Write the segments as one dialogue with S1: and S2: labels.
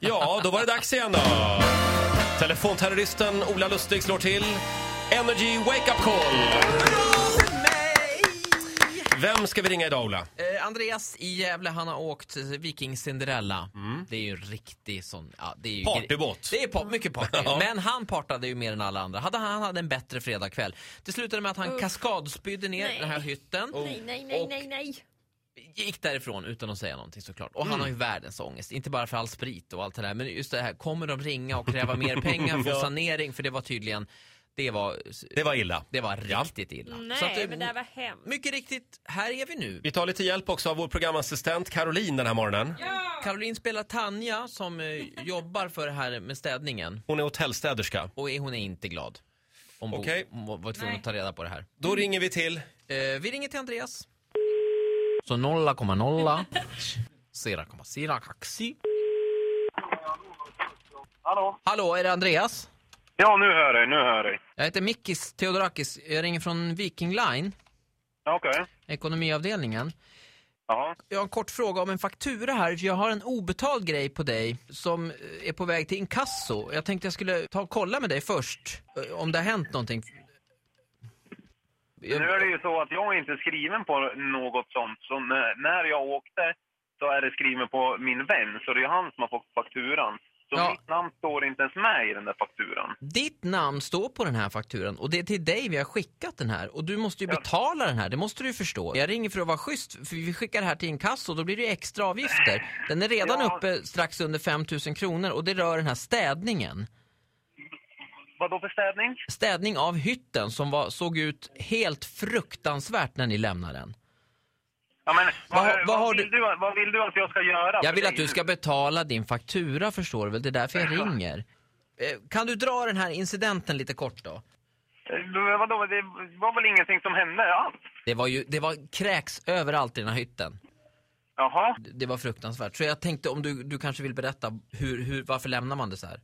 S1: Ja, då var det dags igen då. Telefonterroristen Ola Lustig slår till. Energy Wake Up Call. Vem ska vi ringa idag Ola?
S2: Eh, Andreas i Gävle, han har åkt eh, Viking Cinderella. Det är ju en riktig sån... Ja, det är ju
S1: Mm. Partybåt.
S2: Det är par- mycket party.
S1: Ja.
S2: Men han partade ju mer än alla andra. Hade, han han hade en bättre fredagkväll. Det slutade med att han kaskadspydde ner
S3: Nej.
S2: den här hytten.
S1: Oh.
S3: Nej, nej, nej, nej, nej.
S2: Gick därifrån utan att säga någonting såklart. Och
S1: Mm.
S2: han har ju världens ångest. Inte bara för all sprit och allt det där. Men just det här, kommer de ringa och kräva mer pengar, få
S1: Ja.
S2: sanering? För det var tydligen... Det var,
S1: Det var illa.
S2: det var riktigt illa. Så att
S3: Nej,
S2: det-
S3: men det här var hemskt.
S2: Mycket riktigt, här är vi nu.
S1: Vi tar lite hjälp också av vår programassistent Caroline den här morgonen.
S2: Caroline spelar Tanja som eh, jobbar för det här med städningen.
S1: Hon är hotellstäderska.
S2: Och är- hon är inte glad. Hon, bo-
S1: Okej.
S2: hon var- var tvungen att ta reda på det här.
S1: Då ringer vi till...
S2: Eh, vi ringer till Andreas. Så 0,0. Sera komma sera kaxi.
S4: Hallå?
S2: Hallå, är det Andreas?
S4: Ja, nu hör jag, nu hör jag.
S2: Jag heter Mikis Theodorakis. Jag ringer från Viking Line,
S4: Ja, Okej.
S2: ekonomiavdelningen.
S4: Jaha.
S2: Jag har en kort fråga om en faktura här. för Jag har en obetald grej på dig som eh, är på väg till inkasso. Jag tänkte jag skulle ta och kolla med dig först eh, om det har hänt någonting.
S4: Nu är det ju så att jag är inte skriven på något sånt. Så n- när jag åkte så är det skriven på min vän, så det är ju han som har fått fakturan. Så
S2: Ja.
S4: mitt namn står inte ens med i den där fakturan.
S2: Ditt namn står på den här fakturan och det är till dig vi har skickat den här och du måste ju betala den här, det måste du ju förstå. Jag ringer för att vara schysst, för vi skickar det här till inkasso och då blir det ju extra avgifter. Den är redan
S4: Ja.
S2: uppe strax under 5 000 kronor och det rör den här städningen.
S4: Vad då för städning?
S2: Städning av hytten som var, såg ut helt fruktansvärt när ni lämnade den.
S4: Ja, men,
S2: Vad
S4: vad,
S2: har-
S4: vad,
S2: vad har
S4: vill du? vad vill du att jag ska göra?
S2: Jag
S4: för
S2: vill
S4: dig
S2: att du
S4: nu?
S2: ska betala din faktura förstår du väl, det är därför jag ringer. Eh, Kan du dra den här incidenten lite kort då?
S4: Eh, Vadå, det var väl ingenting som hände alls?
S2: Det var ju, det var kräks överallt i den här hytten.
S4: Jaha.
S2: Det var fruktansvärt. Så jag tänkte om du, du kanske vill berätta, hur, hur, varför lämnar man det så här?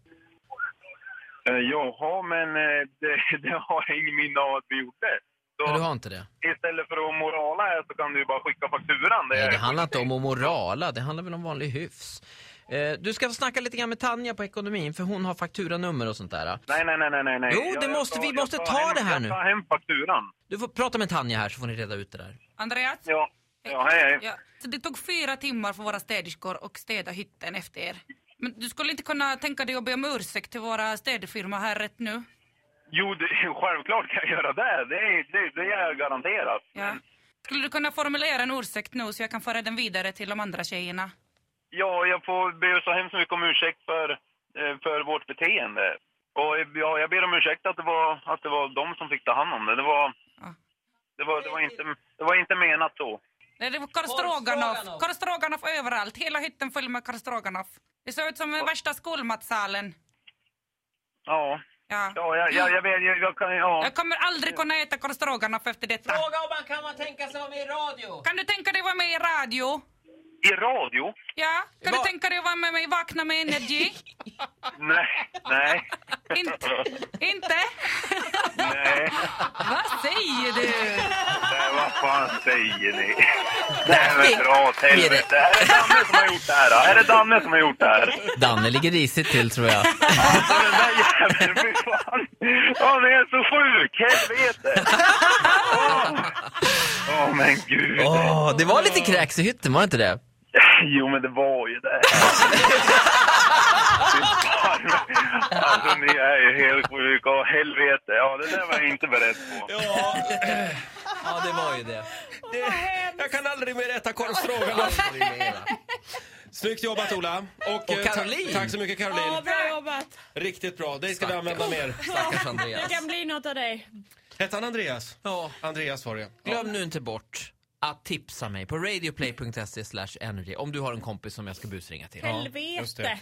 S4: Eh, Jaha, men eh, det, det har jag ingen minne av att vi gjorde. Så
S2: Men du har inte det?
S4: istället för att morala här så kan du ju bara skicka fakturan.
S2: Nej, det
S4: är-
S2: handlar inte om att morala, det handlar väl om vanlig hyfs. Eh, du ska få snacka lite grann med Tanja på ekonomin, för hon har fakturanummer och sånt där.
S4: Nej, nej, nej, nej, nej, nej.
S2: Jo, det måste- vi måste ta
S4: hem,
S2: det här nu.
S4: Jag tar hem fakturan.
S2: Du får prata med Tanja här så får ni reda ut det där.
S5: Andreas?
S4: Ja, ja hej, hej.
S5: Ja. Så det tog fyra timmar för våra städerskor att städa hytten efter er. Men du skulle inte kunna tänka dig att be om ursäkt till våra städfirma här rätt nu?
S4: Jo, det, självklart kan jag göra det. Det är, det, det är garanterat.
S5: Ja. Skulle du kunna formulera en ursäkt nu så jag kan föra den vidare till de andra tjejerna?
S4: Ja, jag får be så hemskt mycket om ursäkt för, eh, för vårt beteende. Och eh, ja, jag ber om ursäkt att det var, att det var de som fick ta hand om det. Det var,
S5: Ja.
S4: det var, det var, inte, det var inte menat så.
S5: Nej, Det var korvstroganoff. Korvstroganoff överallt. Hela hytten full med korvstroganoff. Det såg ut som den värsta skolmatsalen.
S4: Ja,
S5: Ja.
S4: ja jag, jag, jag vet, jag, jag kan, ja.
S5: Jag kommer aldrig kunna äta korvstroganoff efter detta.
S2: om man kan man tänka sig om i radio?
S5: Kan du tänka dig att vara med i radio?
S4: I radio?
S5: Ja? Kan
S2: Va-
S5: du tänka dig att vara med mig i Vakna med Energy?
S4: Nej, nej,
S5: Inte? Inte?
S4: nej.
S5: Vad säger du?
S4: Nej, vad fan säger ni? Det här är väl dra åt helvete. Är det Danne som har gjort det här? då? Är det Danne som har gjort det här?
S2: Danne ligger risigt till tror jag.
S4: Alltså den där jäveln, fy fan. Han är så sjuk, helvete. Åh, Åh, men gud.
S2: Åh, det var lite kräks i hytten, var det inte det?
S4: Jo, men det var ju det. Fy fan. Alltså ni är ju helt sjuka, Åh, helvete. Ja, det där var jag inte beredd på.
S1: Ja,
S2: Ja, det var ju det.
S1: jag kan aldrig mer äta korvstroganoff. Snyggt jobbat Ola. Och, eh, ta-
S2: Caroline.
S1: Tack så mycket
S3: Ja,
S1: Caroline.
S3: bra jobbat.
S1: Riktigt bra. Det ska vi använda mer.
S2: Stackars Andreas.
S3: Det kan bli något av dig.
S1: Hette han Andreas?
S2: Ja.
S1: Andreas var det.
S2: Glöm nu inte bort att tipsa mig på radioplay.se slash energy om du har en kompis som jag ska busringa till.
S3: Helvete.
S1: just det.